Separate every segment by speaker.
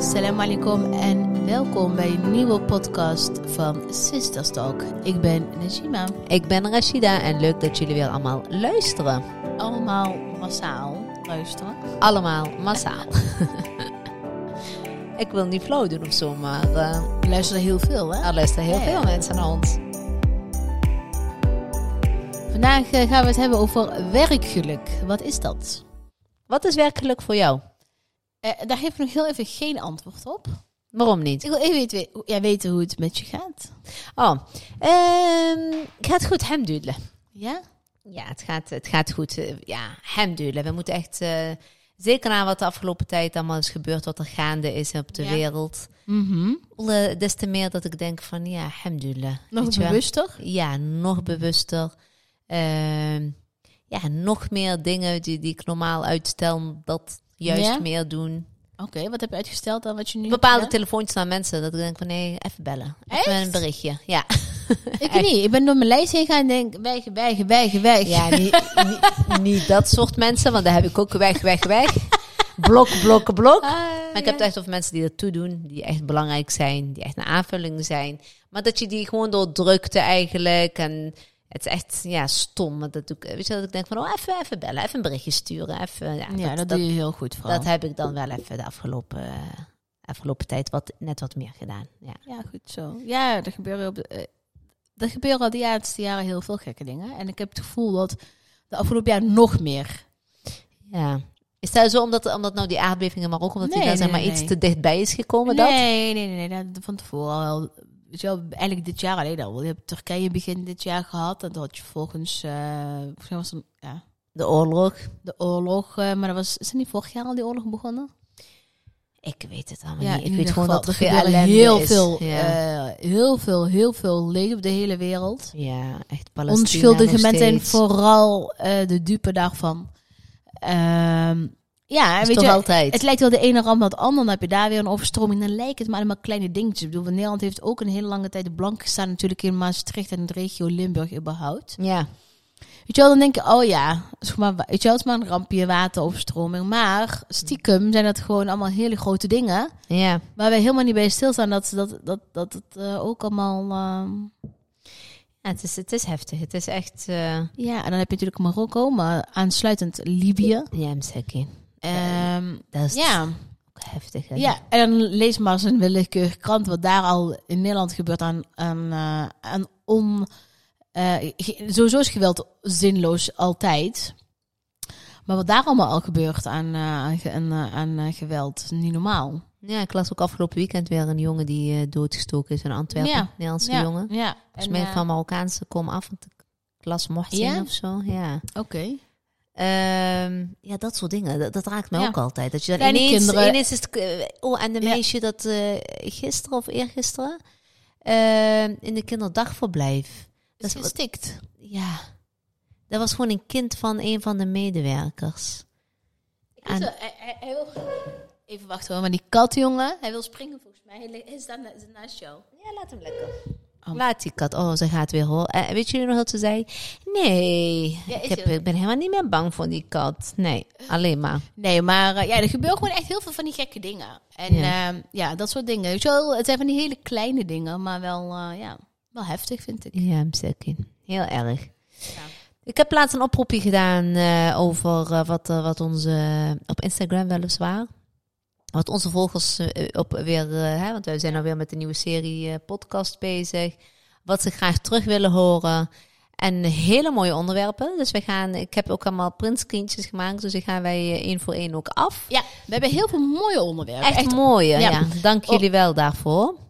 Speaker 1: Salam alaikum en welkom bij een nieuwe podcast van Sisters Talk. Ik ben Najima.
Speaker 2: Ik ben Rashida en leuk dat jullie weer allemaal luisteren.
Speaker 1: Allemaal massaal luisteren.
Speaker 2: Allemaal massaal. ik wil niet flow doen of zo, maar eh,
Speaker 1: We luisteren heel veel, hè?
Speaker 2: er luisteren heel
Speaker 1: Ja, ja.
Speaker 2: veel mensen naar ons.
Speaker 1: Vandaag eh, gaan we het hebben over werkgeluk. Wat is dat?
Speaker 2: Wat is werkelijk voor jou?
Speaker 1: Eh, daar geef ik nog heel even geen antwoord op.
Speaker 2: Waarom niet?
Speaker 1: Ik wil even weten, hoe- ja, weten hoe het met je gaat.
Speaker 2: Oh, ehm, gaat goed, hemdudelen.
Speaker 1: Ja?
Speaker 2: Ja, het gaat, het gaat goed. eh, Ja, hemdudelen. We moeten echt, eh, zeker na wat de afgelopen tijd allemaal is gebeurd, wat er gaande is op de
Speaker 1: Ja.
Speaker 2: wereld.
Speaker 1: Mhm.
Speaker 2: Eh, Des te meer dat ik denk van, ja, hemdudelen.
Speaker 1: Nog
Speaker 2: Weet je wel?
Speaker 1: bewuster?
Speaker 2: ja, nog bewuster. Ehm, ja, nog meer dingen die, die ik normaal uitstel, dat juist
Speaker 1: Ja?
Speaker 2: meer doen.
Speaker 1: Oké, wat heb je uitgesteld dan wat je nu...
Speaker 2: Bepaalde
Speaker 1: hebt
Speaker 2: telefoontjes naar mensen, dat ik denk van nee, even bellen. Even
Speaker 1: Echt?
Speaker 2: een berichtje. Ja,
Speaker 1: gedaan? Ik niet. Ik ben door mijn lijst heen gaan en denk, weg, weg, weg, weg.
Speaker 2: ja niet, niet, niet dat soort mensen, want daar heb ik ook weg, weg, weg. Blok, blok, blok. Maar ik heb het echt over mensen die dat toedoen, die echt belangrijk zijn, die echt een aanvulling zijn. Maar dat je die gewoon door drukte eigenlijk. En het is echt ja, stom. want Dat doe ik, weet je, dat ik denk van, oh, even, even bellen, even een berichtje sturen. Even, ja,
Speaker 1: Ja, dat, doe je heel goed, vooral.
Speaker 2: dat heb ik dan wel even de afgelopen, eh, afgelopen tijd wat, net wat meer gedaan. Ja.
Speaker 1: Ja, goed zo. Ja, er gebeuren, op de, eh, er gebeuren al de laatste jaren heel veel gekke dingen. En ik heb het gevoel dat de afgelopen jaar nog meer.
Speaker 2: Ja. Is dat zo omdat, omdat nou die aardbeving in Marokko, omdat
Speaker 1: Nee,
Speaker 2: die daar zeg
Speaker 1: nee,
Speaker 2: maar iets
Speaker 1: nee.
Speaker 2: te dichtbij is gekomen?
Speaker 1: nee,
Speaker 2: Oh, Dat?
Speaker 1: nee, nee, nee, dat van tevoren al. Weet je wel, eigenlijk dit jaar alleen al. Je hebt Turkije begin dit jaar gehad. En dan had je volgens, eh, volgens mij was het, ja,
Speaker 2: De oorlog.
Speaker 1: de oorlog. eh, maar dat was, is er niet vorig jaar al die oorlog begonnen?
Speaker 2: Ik weet het allemaal
Speaker 1: Ja,
Speaker 2: niet.
Speaker 1: in
Speaker 2: Ah, Ik
Speaker 1: ieder
Speaker 2: weet gewoon
Speaker 1: geval,
Speaker 2: dat er veel
Speaker 1: gebeuren
Speaker 2: ellende
Speaker 1: heel
Speaker 2: is.
Speaker 1: veel,
Speaker 2: Ja.
Speaker 1: eh, heel veel, heel veel leed op de hele wereld.
Speaker 2: ja, echt Palestina
Speaker 1: onschuldige
Speaker 2: nog
Speaker 1: mensen zijn
Speaker 2: steeds.
Speaker 1: vooral eh, de dupe daarvan. Ehm, ja,
Speaker 2: Dat
Speaker 1: weet
Speaker 2: is
Speaker 1: je,
Speaker 2: toch altijd.
Speaker 1: het lijkt wel de ene ramp naar het andere. Dan heb je daar weer een overstroming. Dan lijkt het maar allemaal kleine dingetjes. Ik bedoel, Nederland heeft ook een hele lange tijd blank gestaan. Natuurlijk in Maastricht en de regio Limburg überhaupt.
Speaker 2: ja.
Speaker 1: Weet je wel, dan denk je, oh ja, zeg maar, weet je wel, het is maar een rampje, wateroverstroming. Maar stiekem zijn dat gewoon allemaal hele grote dingen.
Speaker 2: Ja.
Speaker 1: Waar wij helemaal niet bij stilstaan dat dat, dat, dat het eh, ook allemaal... ehm,
Speaker 2: Ja, het, is, het is heftig. Het is echt... eh
Speaker 1: ja, en dan heb je natuurlijk Marokko, maar aansluitend Libië.
Speaker 2: ja, Mseki.
Speaker 1: Ehm,
Speaker 2: Dat is
Speaker 1: ja,
Speaker 2: ook heftig. hè?
Speaker 1: ja, en dan lees maar eens een willekeurige krant wat daar al in Nederland gebeurt aan, aan, eh, aan on... eh, ge- sowieso is geweld zinloos altijd. Maar wat daar allemaal al gebeurt aan, eh, aan, ge- aan, eh, aan eh, geweld, is niet normaal.
Speaker 2: Ja, ik las ook afgelopen weekend weer een jongen die eh, doodgestoken is in Antwerpen.
Speaker 1: Ja.
Speaker 2: Een Nederlandse
Speaker 1: ja,
Speaker 2: jongen.
Speaker 1: Ja. En,
Speaker 2: Volgens mij
Speaker 1: eh,
Speaker 2: van Marokkaanse kom af. Want ik las Mohsin
Speaker 1: Ja?
Speaker 2: of zo. Ja.
Speaker 1: Oké.
Speaker 2: Ehm, ja, dat soort dingen. Dat, dat raakt me
Speaker 1: Ja.
Speaker 2: ook altijd. Dat je dan
Speaker 1: Kleine
Speaker 2: ineens,
Speaker 1: kinderen.
Speaker 2: ineens is het, eh, oh, en de
Speaker 1: Ja.
Speaker 2: meisje dat eh, gisteren of eergisteren ehm, in de kinderdagverblijf.
Speaker 1: Dat is
Speaker 2: wat-
Speaker 1: gestikt.
Speaker 2: Ja. Dat was gewoon een kind van een van de medewerkers.
Speaker 1: Hij,
Speaker 2: Aan-
Speaker 1: hij- hij wil... Even wachten hoor, maar die katjongen, hij wil springen volgens mij. Hij, li- hij staat na- naast jou.
Speaker 2: Ja, laat hem lekker.
Speaker 1: Oh.
Speaker 2: Laat die kat. Oh, ze gaat weer hoor. Eh, weet jullie nog wat ze zei? Nee,
Speaker 1: Ja, is
Speaker 2: ik, heb,
Speaker 1: heel-
Speaker 2: ik ben helemaal niet meer bang voor die kat. Nee, alleen maar.
Speaker 1: Nee, maar eh, ja, er gebeuren gewoon echt heel veel van die gekke dingen. En ja,
Speaker 2: Ja.
Speaker 1: ja dat soort dingen. Weet je wel, het zijn van die hele kleine dingen, maar wel, eh, ja, wel heftig vind ik.
Speaker 2: Ja, zeker. Heel erg. Ik heb laatst een oproepje gedaan eh, over eh, wat, eh, wat onze, op Instagram weliswaar, wat onze volgers eh, op weer, eh, hè, want wij zijn alweer met een nieuwe serie eh, podcast bezig, wat ze graag terug willen horen. En hele mooie onderwerpen. Dus we gaan, ik heb ook allemaal printscreentjes gemaakt, dus die gaan wij eh, één voor één ook af.
Speaker 1: Ja, we hebben heel veel mooie onderwerpen.
Speaker 2: Echt,
Speaker 1: Echt,
Speaker 2: mooie,
Speaker 1: ja.
Speaker 2: ja. Dank
Speaker 1: Oh.
Speaker 2: jullie wel daarvoor.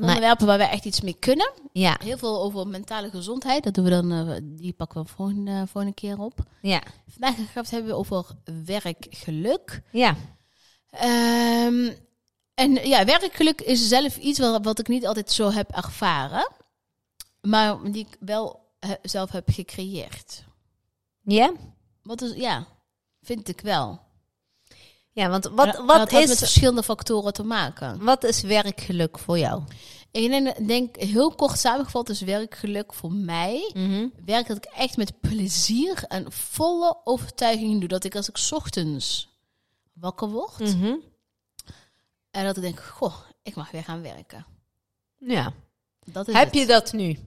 Speaker 1: onderwerpen waar we echt iets mee kunnen.
Speaker 2: Ja,
Speaker 1: Heel veel over mentale gezondheid. Dat doen we dan, eh, die pakken we volgende, eh, volgende keer op.
Speaker 2: ja,
Speaker 1: Vandaag gaan we het hebben over werkgeluk.
Speaker 2: ja.
Speaker 1: Ehm, en ja, werkgeluk is zelf iets wat, wat ik niet altijd zo heb ervaren, maar die ik wel eh, zelf heb gecreëerd.
Speaker 2: Ja?
Speaker 1: Wat is, ja, vind ik wel.
Speaker 2: Ja, want
Speaker 1: En
Speaker 2: wat,
Speaker 1: dat-
Speaker 2: wat
Speaker 1: dat nou, had met
Speaker 2: is
Speaker 1: verschillende factoren te maken.
Speaker 2: Wat is werkgeluk voor jou?
Speaker 1: Ik denk- denk, heel kort samengevat is werkgeluk voor mij.
Speaker 2: Mhm.
Speaker 1: Werk dat ik echt met plezier en volle
Speaker 2: Mm.
Speaker 1: overtuiging doe. Dat ik als ik 's ochtends wakker word,
Speaker 2: Mhm.
Speaker 1: eh, En dat ik denk, goh, ik mag weer gaan werken.
Speaker 2: Ja.
Speaker 1: Dat is
Speaker 2: Heb
Speaker 1: het.
Speaker 2: je dat nu?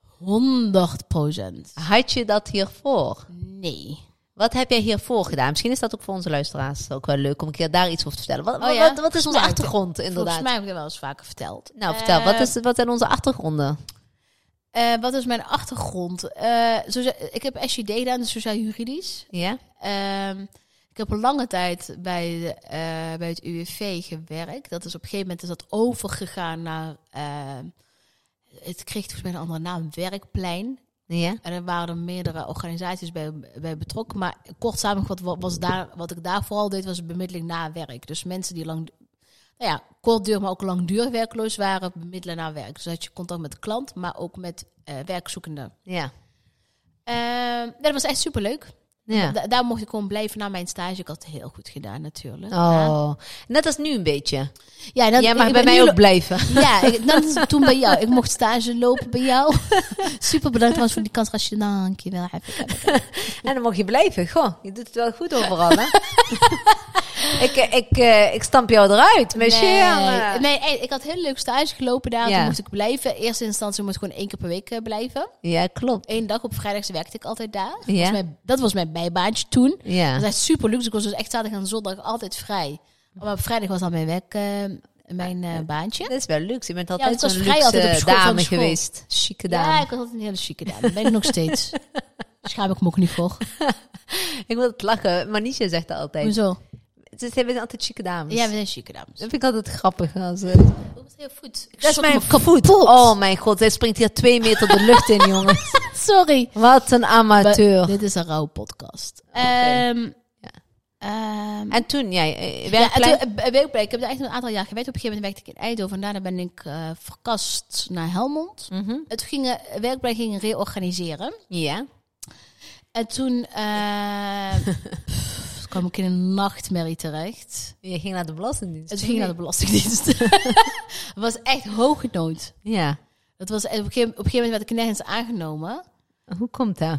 Speaker 1: 100 procent.
Speaker 2: Had je dat hiervoor?
Speaker 1: Nee.
Speaker 2: Wat heb jij hiervoor gedaan? Misschien is dat ook voor onze luisteraars ook wel leuk om een keer daar iets over te vertellen. Wat,
Speaker 1: Oh
Speaker 2: wat-
Speaker 1: ja?
Speaker 2: wat, wat is onze
Speaker 1: Nou, ik-
Speaker 2: achtergrond inderdaad?
Speaker 1: Volgens mij heb ik dat wel eens vaker verteld.
Speaker 2: Nou, vertel,
Speaker 1: Eh,
Speaker 2: wat, is, wat zijn onze achtergronden?
Speaker 1: eh, wat is mijn achtergrond? Eh, socia- ik heb SJD gedaan, dus sociaal juridisch.
Speaker 2: Ja?
Speaker 1: Ehm, ik heb een lange tijd bij, de, eh, bij het UWV gewerkt. Dat is op een gegeven moment is dat overgegaan naar... ehm, het kreeg volgens mij een andere naam, Werkplein.
Speaker 2: Ja?
Speaker 1: En er waren er meerdere organisaties bij, bij betrokken. Maar kort samengevat, wat, was daar, wat ik daar vooral deed, was bemiddeling na werk. Dus mensen die lang, nou ja, kortdurig, maar ook langdurig werkloos waren, bemiddelen na werk. Dus dat je contact met de klant, maar ook met eh, werkzoekenden.
Speaker 2: Ja.
Speaker 1: Eh, nee, dat was echt superleuk.
Speaker 2: ja.
Speaker 1: Da- daar mocht ik gewoon blijven na mijn stage. Ik had het heel goed gedaan, natuurlijk.
Speaker 2: Oh, net als nu een beetje.
Speaker 1: Ja, dat,
Speaker 2: Jij mag
Speaker 1: ik
Speaker 2: bij
Speaker 1: ben
Speaker 2: mij
Speaker 1: nu-
Speaker 2: ook blijven.
Speaker 1: Ja, ik, dat is toen bij jou. Ik mocht stage lopen bij jou. Super bedankt trouwens voor die kans. Als je dankjewel hebt.
Speaker 2: En dan mag je blijven. Goh, je doet het wel goed overal, hè? ik, eh, ik, eh, ik stamp jou eruit, monsieur.
Speaker 1: Nee, nee hey, ik had heel leuk stage gelopen daar.
Speaker 2: Ja.
Speaker 1: Toen moest ik blijven. Eerste instantie moest ik gewoon één keer per week eh, blijven.
Speaker 2: Ja, klopt.
Speaker 1: Eén dag op vrijdags werkte ik altijd daar. Dat,
Speaker 2: Ja.
Speaker 1: was mijn, dat was mijn bijbaantje toen. Dat
Speaker 2: Ja.
Speaker 1: was echt super luxe. Ik was dus echt zaterdag en zondag altijd vrij. Maar op vrijdag was dan mijn werk, eh, mijn eh, baantje.
Speaker 2: Dat is wel luxe. Je bent
Speaker 1: Ja,
Speaker 2: altijd
Speaker 1: ik was
Speaker 2: zo'n
Speaker 1: vrij
Speaker 2: luxe
Speaker 1: altijd op school van
Speaker 2: dame
Speaker 1: school.
Speaker 2: geweest. Chique dame.
Speaker 1: Ja, ik was altijd een hele chique dame. Dat ben ik nog steeds. Schaam ik me ook niet voor.
Speaker 2: ik wil het lachen. Manisha zegt dat altijd.
Speaker 1: Hoezo?
Speaker 2: Ze zijn- we zijn altijd chique dames.
Speaker 1: Ja, we zijn chique dames.
Speaker 2: Dat vind ik altijd grappig. Als, eh,
Speaker 1: Dat is heel goed. Ik
Speaker 2: dat is
Speaker 1: schrok
Speaker 2: mijn
Speaker 1: me
Speaker 2: kapot. Oh mijn god, hij springt hier twee meter de lucht in, jongen.
Speaker 1: kapot. Sorry.
Speaker 2: Wat een
Speaker 1: We-
Speaker 2: amateur.
Speaker 1: Dit is een rauw podcast. Ehm, ehm,
Speaker 2: En toen, jij eh,
Speaker 1: ja, en
Speaker 2: werkplein-
Speaker 1: toen, eh, werkplek. Ik heb er echt een aantal jaar gewerkt. Op een gegeven moment werkte ik in Eindhoven. En daarna ben ik eh, verkast naar Helmond.
Speaker 2: Mhm.
Speaker 1: En toen gingen werkplek ging reorganiseren.
Speaker 2: Ja.
Speaker 1: En toen eh, pff, kwam ik in een nachtmerrie terecht.
Speaker 2: Je ging naar de belastingdienst.
Speaker 1: En toen ging ik naar de Belastingdienst. Het was echt hoge nood.
Speaker 2: Ja.
Speaker 1: Dat was, en op, een gegeven, op een gegeven moment werd ik nergens aangenomen.
Speaker 2: Hoe komt dat?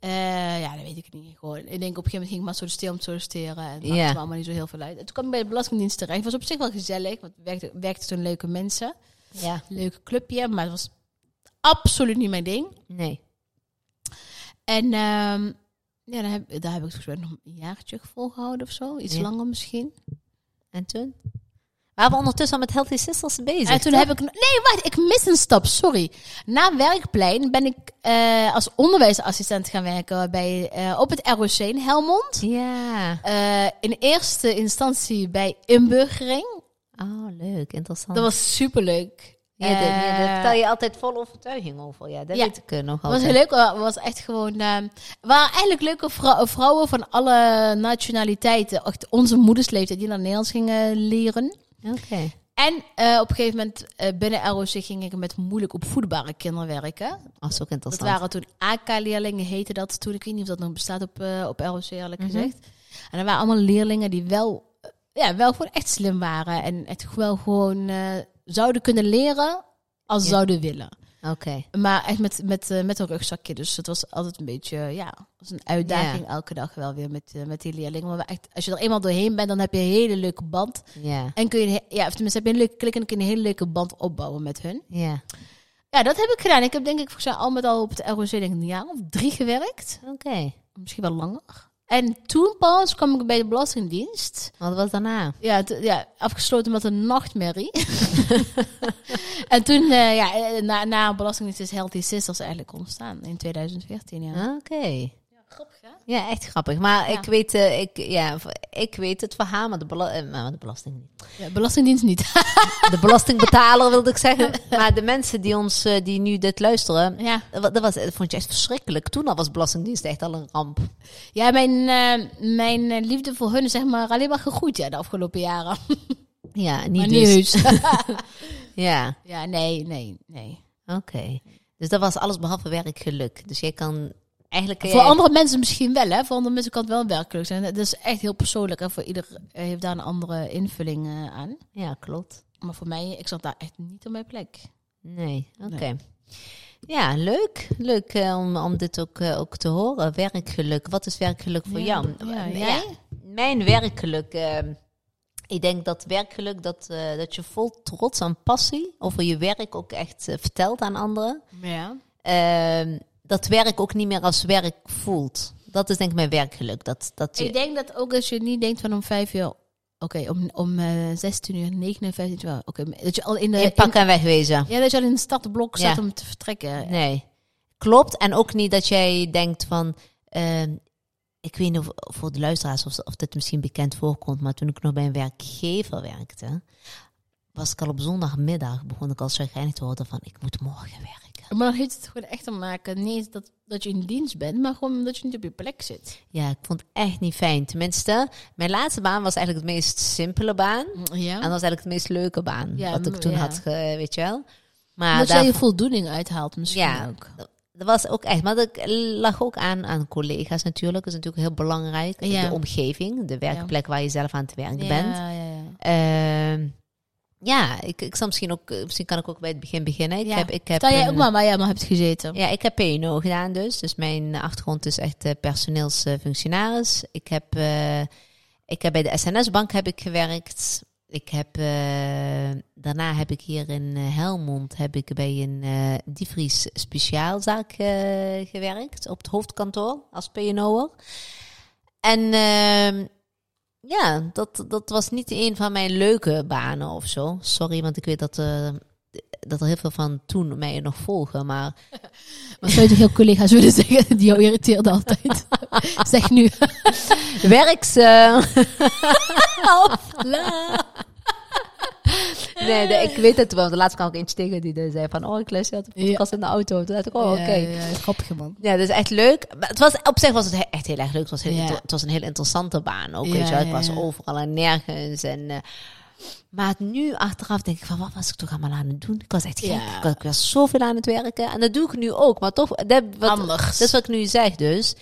Speaker 1: Eh, ja, dat weet ik niet. Gewoon, ik denk op een gegeven moment ging ik maar solliciteren om te solliciteren. En het
Speaker 2: Ja.
Speaker 1: maakte me allemaal niet zo heel veel uit. En toen kwam ik bij de Belastingdienst terecht. Het was op zich wel gezellig, want het werkte, werkte toen leuke mensen.
Speaker 2: Ja.
Speaker 1: Leuke clubje, maar het was absoluut niet mijn ding.
Speaker 2: Nee.
Speaker 1: En ehm, ja, daar heb, daar heb ik volgens mij nog een jaartje volgehouden of zo. Iets
Speaker 2: Ja.
Speaker 1: langer misschien.
Speaker 2: En toen? We waren ondertussen al met Healthy Sisters bezig.
Speaker 1: en toen
Speaker 2: toch?
Speaker 1: heb ik... nog- Nee, wacht, ik mis een stap, sorry. Na werkplein ben ik eh, als onderwijsassistent gaan werken bij, eh, op het ROC in Helmond.
Speaker 2: Ja.
Speaker 1: Eh, in eerste instantie bij inburgering.
Speaker 2: Oh, leuk. Interessant.
Speaker 1: Dat was superleuk.
Speaker 2: ja, dat, ja,
Speaker 1: Eh,
Speaker 2: daar vertel je altijd vol overtuiging over. Ja, dat
Speaker 1: ja.
Speaker 2: weet ik eh, nog
Speaker 1: was
Speaker 2: altijd.
Speaker 1: heel leuk. Het was echt gewoon... eh, waren eigenlijk leuke vrou- vrouwen van alle nationaliteiten. Echt onze moedersleeftijd die naar Nederlands gingen leren.
Speaker 2: Oké.
Speaker 1: En eh, op een gegeven moment eh, binnen ROC ging ik met moeilijk opvoedbare kinderen werken.
Speaker 2: Dat is ook
Speaker 1: Dat
Speaker 2: interessant.
Speaker 1: waren toen AK-leerlingen, heette dat toen. Ik weet niet of dat nog bestaat op, eh, op ROC, eerlijk gezegd. En er waren allemaal leerlingen die wel, eh, ja, wel gewoon echt slim waren. En het wel gewoon eh, zouden kunnen leren als
Speaker 2: Ja.
Speaker 1: zouden willen.
Speaker 2: Oké.
Speaker 1: Maar echt met, met, eh, met een rugzakje. Dus het was altijd een beetje, ja, was een uitdaging elke dag wel weer met, eh, met die leerlingen. Maar echt, als je er eenmaal doorheen bent, dan heb je een hele leuke band.
Speaker 2: Ja.
Speaker 1: En kun je, een he- ja, of tenminste heb je een leuke klik en kun je een hele leuke band opbouwen met hun.
Speaker 2: Ja.
Speaker 1: Ja, dat heb ik gedaan. Ik heb denk ik volgens mij al met al op het ROC denk ik een jaar of drie gewerkt.
Speaker 2: Oké.
Speaker 1: Misschien wel langer. En toen pas kwam ik bij de Belastingdienst.
Speaker 2: Wat was daarna?
Speaker 1: Ja, t- ja afgesloten met een nachtmerrie. en toen, eh, ja, eh, na, na Belastingdienst is Healthy Sisters eigenlijk ontstaan in 2014. Ja.
Speaker 2: Oké.
Speaker 1: Grappig, hè?
Speaker 2: Ja, echt grappig. Maar
Speaker 1: Ja.
Speaker 2: ik, weet, eh, ik, ja, v- ik weet het verhaal, maar de, bela- eh, maar de belasting niet.
Speaker 1: Ja, Belastingdienst niet.
Speaker 2: De belastingbetaler wilde ik zeggen. Maar de mensen die, ons, eh, die nu dit luisteren,
Speaker 1: ja.
Speaker 2: Dat, wa- dat, was, dat vond je echt verschrikkelijk. Toen al was Belastingdienst echt al een ramp.
Speaker 1: ja, mijn, eh, mijn eh, liefde voor hun is zeg maar alleen maar gegroeid ja, de afgelopen jaren.
Speaker 2: Ja,
Speaker 1: Maar
Speaker 2: niet
Speaker 1: niet
Speaker 2: dus.
Speaker 1: heus.
Speaker 2: Ja,
Speaker 1: ja, nee, nee, nee.
Speaker 2: oké. Dus dat was alles behalve werkgeluk. Dus jij kan eigenlijk... eh,
Speaker 1: Voor andere mensen misschien wel, hè? Voor andere mensen kan het wel werkelijk zijn. Dat is echt heel persoonlijk en voor ieder eh, heeft daar een andere invulling eh, aan.
Speaker 2: Ja, klopt.
Speaker 1: Maar voor mij, ik zat daar echt niet op mijn plek.
Speaker 2: Nee, oké. Ja, leuk. Leuk eh, om, om dit ook, eh, ook te horen. Werkgeluk. Wat is werkgeluk voor
Speaker 1: Ja,
Speaker 2: jou? Eh,
Speaker 1: ja,
Speaker 2: Ja,
Speaker 1: jij?
Speaker 2: Mijn werkgeluk... eh, Ik denk dat werkgeluk, dat, eh, dat je vol trots en passie over je werk ook echt eh, vertelt aan anderen.
Speaker 1: Ja.
Speaker 2: Ehm, dat werk ook niet meer als werk voelt. Dat is denk ik mijn werkgeluk. Dat, dat je,
Speaker 1: Ik denk dat ook als je niet denkt van om vijf uur... Oké, om, om eh 16 uur, 59 uur. Oké, maar dat je al eh, in de...
Speaker 2: in pak en wegwezen.
Speaker 1: in- ja, dat je al in het startblok zat
Speaker 2: Ja.
Speaker 1: om te vertrekken.
Speaker 2: Nee. Klopt. En ook niet dat jij denkt van. ehm, ik weet niet of voor de luisteraars of, of dit misschien bekend voorkomt, maar toen ik nog bij een werkgever werkte, was ik al op zondagmiddag begon ik al chagrijnig te worden van ik moet morgen werken.
Speaker 1: Maar dan heeft het gewoon echt te maken, niet eens dat, dat je in dienst bent, maar gewoon dat je niet op je plek zit.
Speaker 2: Ja, ik vond het echt niet fijn. Tenminste, mijn laatste baan was eigenlijk de meest simpele baan. En
Speaker 1: Ja.
Speaker 2: dat was eigenlijk de meest leuke baan
Speaker 1: Ja,
Speaker 2: wat ik
Speaker 1: m-
Speaker 2: toen
Speaker 1: ja.
Speaker 2: had, ge- weet je wel. Maar
Speaker 1: dat
Speaker 2: eh, daar-
Speaker 1: je je voldoening uithaalt misschien
Speaker 2: Ja.
Speaker 1: ook.
Speaker 2: Dat was ook echt, maar dat lag ook aan aan collega's natuurlijk. Dat is natuurlijk heel belangrijk.
Speaker 1: Ja.
Speaker 2: De omgeving, de werkplek waar je zelf aan het werk
Speaker 1: ja,
Speaker 2: bent.
Speaker 1: Ja, ja.
Speaker 2: Ehm, ja, ik, ik zal misschien ook, eh, misschien kan ik ook bij het begin beginnen. Ik
Speaker 1: Ja.
Speaker 2: heb, ik heb
Speaker 1: Terwijl jij
Speaker 2: een-
Speaker 1: ook maar bij Jemma hebt gezeten.
Speaker 2: ja, ik heb PNO gedaan dus. Dus mijn achtergrond is echt eh, personeelsfunctionaris. Ik heb, eh, ik heb bij de SNS-bank heb ik gewerkt. Ik heb, eh, daarna heb ik hier in eh, Helmond heb ik bij een eh Diefries speciaalzaak eh, gewerkt. Op het hoofdkantoor als PNO'er. En ehm, ja, dat, dat was niet een van mijn leuke banen of zo. Sorry, want ik weet dat, eh, dat er heel veel van toen mij nog volgen. Maar
Speaker 1: Wat zou je tegen jouw collega's willen zeggen? Die jou irriteerde altijd. zeg nu.
Speaker 2: Werks. eh, la. nee, nee, ik weet het wel. De laatste kwam ik eentje tegen die eh, zei van... Oh, ik luister altijd de podcast in de auto. Toen dacht ik, oh, oké.
Speaker 1: Ja, ja, ja, grappig man.
Speaker 2: Ja, dat is echt leuk. Maar het was, op zich was het he- echt heel erg leuk. Het was, heel
Speaker 1: Ja.
Speaker 2: inter- het was een heel interessante baan ook.
Speaker 1: Ja,
Speaker 2: weet je wel. Ik
Speaker 1: ja,
Speaker 2: was
Speaker 1: ja.
Speaker 2: overal en nergens. En, eh, maar het nu achteraf denk ik van, wat was ik toch allemaal aan het doen? Ik was echt gek.
Speaker 1: Ja.
Speaker 2: Ik, was, ik was zoveel aan het werken. En dat doe ik nu ook. Maar toch, dat, wat,
Speaker 1: Anders.
Speaker 2: dat is wat ik nu zeg dus.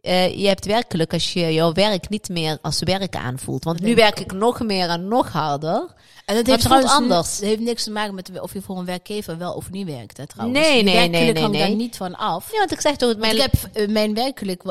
Speaker 2: Eh, je hebt werkelijk als je jouw werk niet meer als werk aanvoelt. Want nu
Speaker 1: denk ik
Speaker 2: werk ik nog meer en nog harder.
Speaker 1: En dat
Speaker 2: heeft
Speaker 1: heeft trouwens
Speaker 2: trouwens
Speaker 1: anders.
Speaker 2: ni-
Speaker 1: Het heeft niks te maken met of je voor een werkgever wel of niet werkt, hè, trouwens.
Speaker 2: Nee,
Speaker 1: Je
Speaker 2: nee,
Speaker 1: werkgeluk
Speaker 2: nee, nee,
Speaker 1: hangt daar
Speaker 2: nee.
Speaker 1: niet van af.
Speaker 2: Ja, want ik zeg toch, mijn,
Speaker 1: Want ik heb eh, mijn werkelijk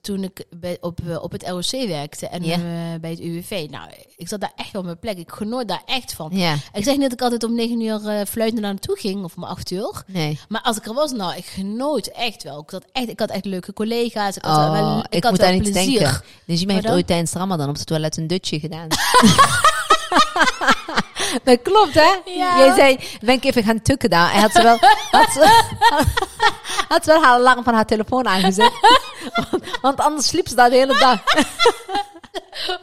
Speaker 1: toen ik bij, op, eh, op het ROC werkte en
Speaker 2: Ja.
Speaker 1: eh, bij het UWV. Nou, ik zat daar echt op mijn plek. Ik genoot daar echt van.
Speaker 2: Ja,
Speaker 1: Ik zeg niet dat ik altijd om negen uur eh fluitend naar naartoe ging of om acht uur.
Speaker 2: nee.
Speaker 1: Maar als ik er was, nou, ik genoot echt wel. Ik had echt, ik had echt leuke collega's. Ik had
Speaker 2: Oh,
Speaker 1: wel, ik
Speaker 2: ik,
Speaker 1: had
Speaker 2: moet
Speaker 1: wel
Speaker 2: daar niet
Speaker 1: plezier.
Speaker 2: denken. Najima heeft
Speaker 1: Pardon?
Speaker 2: ooit tijdens Ramadan op het toilet een dutje gedaan. dat klopt, hè?
Speaker 1: Ja.
Speaker 2: Jij zei, ben ik even gaan tukken daar. En had ze wel, had ze, had ze wel haar alarm van haar telefoon aangezet. want, want anders sliep ze daar de hele dag.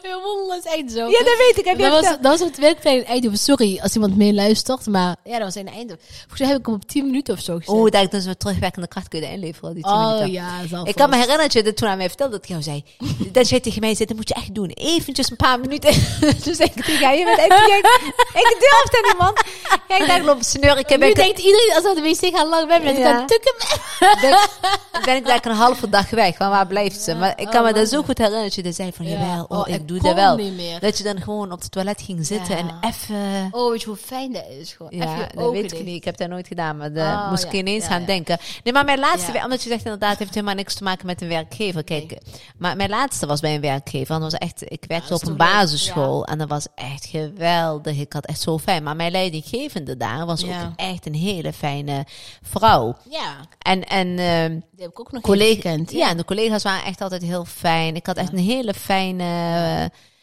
Speaker 1: Ja, wonder, dat is echt zo.
Speaker 2: Ja, dat weet ik. Heb je
Speaker 1: dat, was,
Speaker 2: verteld?
Speaker 1: dat was het werkplein in Eindhoven. Sorry als iemand meeluistert, maar ja, dat was in Eindhoven. Volgens mij heb ik hem op 10 minuten of zo gezet.
Speaker 2: Oeh, dat ik dus weer terugwerkende kracht kunnen inleveren. Die tien
Speaker 1: Oh,
Speaker 2: minuten.
Speaker 1: ja, zal
Speaker 2: Ik kan me
Speaker 1: vast.
Speaker 2: herinneren dat je dat toen aan mij vertelde dat ik jou zei. Dat jij tegen mij zei, dat moet je echt doen. Eventjes een paar minuten. Toen zei ik tegen jou, je bent echt gek. Ik durfde niet, man. Ja, ik dacht, loop sneur. Ik heb
Speaker 1: Nu
Speaker 2: ik,
Speaker 1: denkt iedereen als we naar de wc gaan lang dus weg, dat ik
Speaker 2: Ja.
Speaker 1: aan het tukken ben.
Speaker 2: ben, ben ik daar een halve dag weg. Maar waar blijft ze? Maar ik kan
Speaker 1: oh,
Speaker 2: me dat
Speaker 1: man.
Speaker 2: zo goed herinneren dat je dat zei van,
Speaker 1: Ja.
Speaker 2: jawel, oh,
Speaker 1: Oh,
Speaker 2: ik,
Speaker 1: ik
Speaker 2: doe
Speaker 1: kon
Speaker 2: dat wel.
Speaker 1: niet meer.
Speaker 2: Dat je dan gewoon op het toilet ging zitten
Speaker 1: Ja.
Speaker 2: en even...
Speaker 1: Oh, weet je hoe fijn dat is? Gewoon even
Speaker 2: Ja,
Speaker 1: je
Speaker 2: dat
Speaker 1: ogen
Speaker 2: weet ik
Speaker 1: dicht.
Speaker 2: niet. Ik heb dat nooit gedaan, maar daar
Speaker 1: Oh,
Speaker 2: moest ik
Speaker 1: ja.
Speaker 2: ineens
Speaker 1: Ja,
Speaker 2: aan
Speaker 1: ja.
Speaker 2: denken. Nee, maar mijn laatste,
Speaker 1: Ja.
Speaker 2: wer- omdat je zegt inderdaad, heeft helemaal niks te maken met een werkgever. Kijk, maar mijn laatste was bij een werkgever. En dat was echt, ik werkte
Speaker 1: Ah, dat
Speaker 2: op
Speaker 1: is
Speaker 2: een
Speaker 1: toch leuk?
Speaker 2: basisschool en dat was echt geweldig. Ik had echt zo fijn. Maar mijn leidinggevende daar was
Speaker 1: Ja.
Speaker 2: ook echt een hele fijne vrouw.
Speaker 1: Ja,
Speaker 2: En, en ehm,
Speaker 1: die heb ik ook nog
Speaker 2: collega-
Speaker 1: even gekend.
Speaker 2: ja, en de collega's waren echt altijd heel fijn. Ik had echt een hele fijne.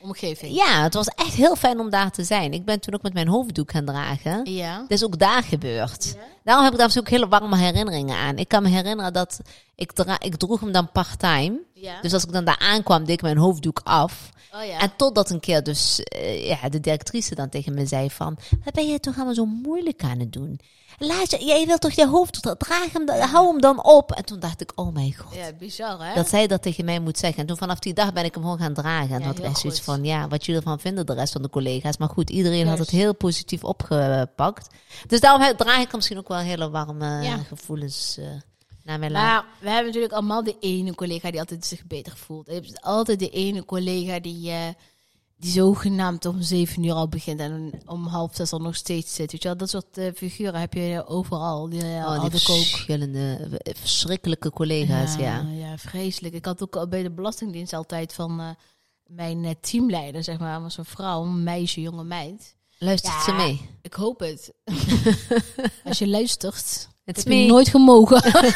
Speaker 1: Omgeving.
Speaker 2: ja, het was echt heel fijn om daar te zijn. Ik ben toen ook met mijn hoofddoek gaan dragen.
Speaker 1: Ja.
Speaker 2: Dat is ook daar gebeurd. Daarom heb ik daar dus ook hele warme herinneringen aan. Ik kan me herinneren dat ik, dra- ik droeg hem dan part-time.
Speaker 1: Ja.
Speaker 2: Dus als ik dan daar aankwam, deed ik mijn hoofddoek af.
Speaker 1: Oh ja.
Speaker 2: En totdat een keer dus eh, ja, de directrice dan tegen me zei van... Wat ben je toch allemaal zo moeilijk aan het doen? Laat je, jij wilt toch je hoofddoek dra- draag hem, dan- hou hem dan op. En toen dacht ik, oh mijn god.
Speaker 1: ja, bizar hè?
Speaker 2: Dat zij dat tegen mij moet zeggen. En toen vanaf die dag ben ik hem gewoon gaan dragen. En
Speaker 1: Ja,
Speaker 2: had ik
Speaker 1: heel
Speaker 2: echt zoiets
Speaker 1: goed.
Speaker 2: van, ja, wat jullie ervan vinden, de rest van de collega's. Maar goed, iedereen had het
Speaker 1: Juist.
Speaker 2: heel positief opgepakt. Dus daarom he- draag ik hem misschien ook wel hele warme
Speaker 1: Ja.
Speaker 2: gevoelens eh, naar mijn laag.
Speaker 1: Maar we hebben natuurlijk allemaal de ene collega die altijd zich beter voelt. Je hebt altijd de ene collega die, eh die zogenaamd om zeven uur al begint en om half zes al nog steeds zit. Weet je wel? Dat soort eh, figuren heb je overal. Die, eh,
Speaker 2: Oh,
Speaker 1: had
Speaker 2: die
Speaker 1: ik ook.
Speaker 2: verschillende, eh, verschrikkelijke collega's, ja.
Speaker 1: ja, vreselijk. Ik had ook al bij de Belastingdienst altijd van... eh, mijn eh, teamleider, zeg maar, was een vrouw, een meisje, jonge meid.
Speaker 2: Luistert
Speaker 1: Ja.
Speaker 2: ze mee?
Speaker 1: Ik hoop het. Als je luistert.
Speaker 2: Het is
Speaker 1: heb je
Speaker 2: me
Speaker 1: nooit gemogen.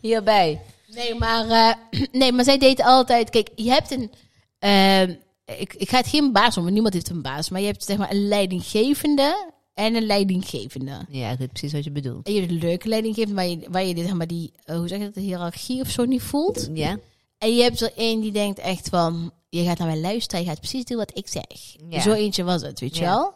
Speaker 2: hierbij.
Speaker 1: nee, maar, eh, nee, maar zij deed altijd... Kijk, je hebt een... ehm, ik, ik ga het geen baas noemen, niemand heeft een baas. Maar je hebt zeg maar een leidinggevende en een leidinggevende.
Speaker 2: Ja, ik weet precies wat je bedoelt.
Speaker 1: En je hebt een leuke leidinggevende waar je, waar je dit, zeg maar die, eh, hoe zeg je dat, de hiërarchie of zo niet voelt.
Speaker 2: Ja?
Speaker 1: En je hebt er één die denkt echt van, je gaat naar mij luisteren, je gaat precies doen wat ik zeg.
Speaker 2: Ja.
Speaker 1: Zo eentje was het, weet je
Speaker 2: Ja.
Speaker 1: wel?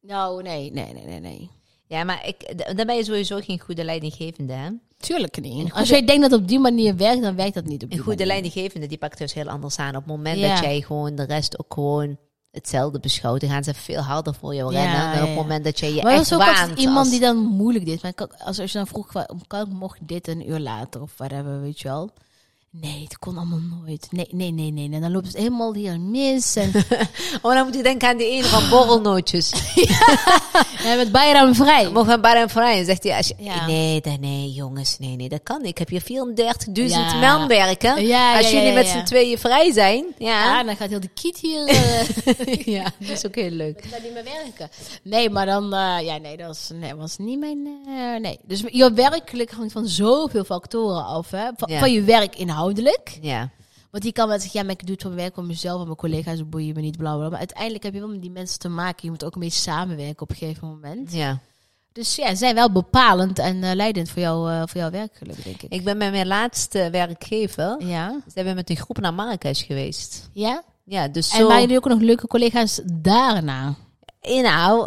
Speaker 1: Nou, nee, nee, nee, nee, nee.
Speaker 2: Ja, maar ik, d- dan ben je sowieso geen goede leidinggevende, hè?
Speaker 1: Tuurlijk niet.
Speaker 2: goede-
Speaker 1: Als jij denkt dat het op die manier werkt, dan werkt dat niet op die
Speaker 2: Een goede
Speaker 1: manier.
Speaker 2: leidinggevende die pakt dus heel anders aan. Op het moment
Speaker 1: Ja.
Speaker 2: dat jij gewoon de rest ook gewoon hetzelfde beschouwt, dan gaan ze veel harder voor jou
Speaker 1: Ja,
Speaker 2: rennen. En op
Speaker 1: ja,
Speaker 2: het
Speaker 1: ja.
Speaker 2: moment dat jij je
Speaker 1: Maar dat
Speaker 2: echt
Speaker 1: is ook altijd
Speaker 2: waant.
Speaker 1: iemand
Speaker 2: als-
Speaker 1: die dan moeilijk deed. Maar kan- als, als je dan vroeg, wa- kan ik mocht dit een uur later of whatever, weet je wel? Nee, het kon allemaal nooit. Nee, nee, nee, nee. En dan loopt het helemaal hier mis. En
Speaker 2: Oh, dan moet je denken aan die ene van borrelnootjes.
Speaker 1: ja, met Bayram vrij.
Speaker 2: Mogen we bar en vrij? En zegt hij, als je,
Speaker 1: Ja.
Speaker 2: nee, nee, nee, jongens, nee, nee, dat kan niet. Ik heb hier 34.000
Speaker 1: Ja.
Speaker 2: man werken.
Speaker 1: Ja,
Speaker 2: als
Speaker 1: ja, ja,
Speaker 2: jullie
Speaker 1: ja,
Speaker 2: met
Speaker 1: ja.
Speaker 2: z'n tweeën vrij zijn,
Speaker 1: Ja,
Speaker 2: ja.
Speaker 1: en dan gaat heel de kiet hier... eh,
Speaker 2: ja, dat is ook heel leuk.
Speaker 1: Ik kan niet meer werken. Nee, maar dan... eh, ja, nee, dat was, nee, was niet mijn... eh, nee. Dus je werkelijk hangt van zoveel factoren af. Hè? Van,
Speaker 2: Ja.
Speaker 1: van je werk inhoudelijk.
Speaker 2: Ja,
Speaker 1: Want die kan wel zeggen... Ja, maar ik doe het voor mijn werk, voor mezelf... en mijn collega's boeien me niet, bla, bla, bla. Maar uiteindelijk heb je wel met die mensen te maken. Je moet ook een beetje samenwerken op een gegeven moment.
Speaker 2: ja.
Speaker 1: Dus ja, ze zijn wel bepalend en eh, leidend voor, jou, eh, voor jouw werkgeluk, denk ik.
Speaker 2: Ik ben bij mijn laatste werkgever.
Speaker 1: Ja?
Speaker 2: Zijn we met een groep naar Marrakesh geweest.
Speaker 1: Ja?
Speaker 2: Ja, dus
Speaker 1: En
Speaker 2: zo...
Speaker 1: waren jullie ook nog leuke collega's daarna?
Speaker 2: Nou,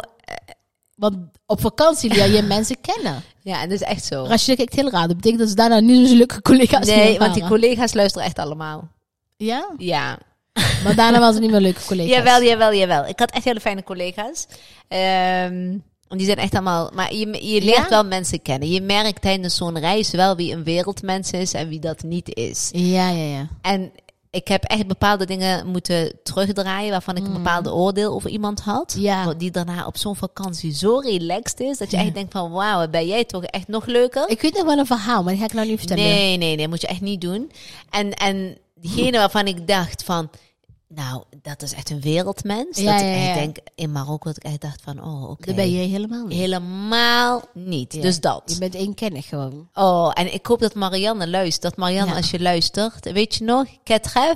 Speaker 1: Want op vakantie leer je mensen kennen.
Speaker 2: ja, dat is echt zo.
Speaker 1: Maar als je kijkt heel raar, dat betekent dat ze daarna niet zo'n leuke collega's
Speaker 2: Nee,
Speaker 1: meer
Speaker 2: want die
Speaker 1: waren.
Speaker 2: collega's luisteren echt allemaal.
Speaker 1: Ja,
Speaker 2: Ja.
Speaker 1: maar daarna waren ze niet meer leuke collega's.
Speaker 2: Jawel, jawel, jawel. Ik had echt hele fijne collega's. Ehm, en die zijn echt allemaal... Maar je, je leert
Speaker 1: Ja?
Speaker 2: wel mensen kennen. Je merkt tijdens zo'n reis wel wie een wereldmens is en wie dat niet is.
Speaker 1: Ja, ja, ja.
Speaker 2: En ik heb echt bepaalde dingen moeten terugdraaien... waarvan ik een bepaalde oordeel over iemand had.
Speaker 1: Mm. Ja.
Speaker 2: Die daarna op zo'n vakantie zo relaxed is... dat je echt denkt van... wauw, ben jij toch echt nog leuker?
Speaker 1: Ik weet nog wel een verhaal, maar die ga ik nou niet vertellen.
Speaker 2: Nee, nee, nee, moet je echt niet doen. En, en diegene waarvan ik dacht van, nou, dat is echt een wereldmens.
Speaker 1: Ja,
Speaker 2: dat
Speaker 1: ja,
Speaker 2: ik echt
Speaker 1: ja.
Speaker 2: denk, in Marokko, dat ik echt dacht van, oh, oké.
Speaker 1: Dat ben je helemaal niet.
Speaker 2: Helemaal niet.
Speaker 1: Ja.
Speaker 2: Dus dat.
Speaker 1: Je bent eenkennig gewoon.
Speaker 2: Oh, en ik hoop dat Marianne luistert. Dat Marianne,
Speaker 1: Ja.
Speaker 2: als je luistert, weet je nog, Ketref?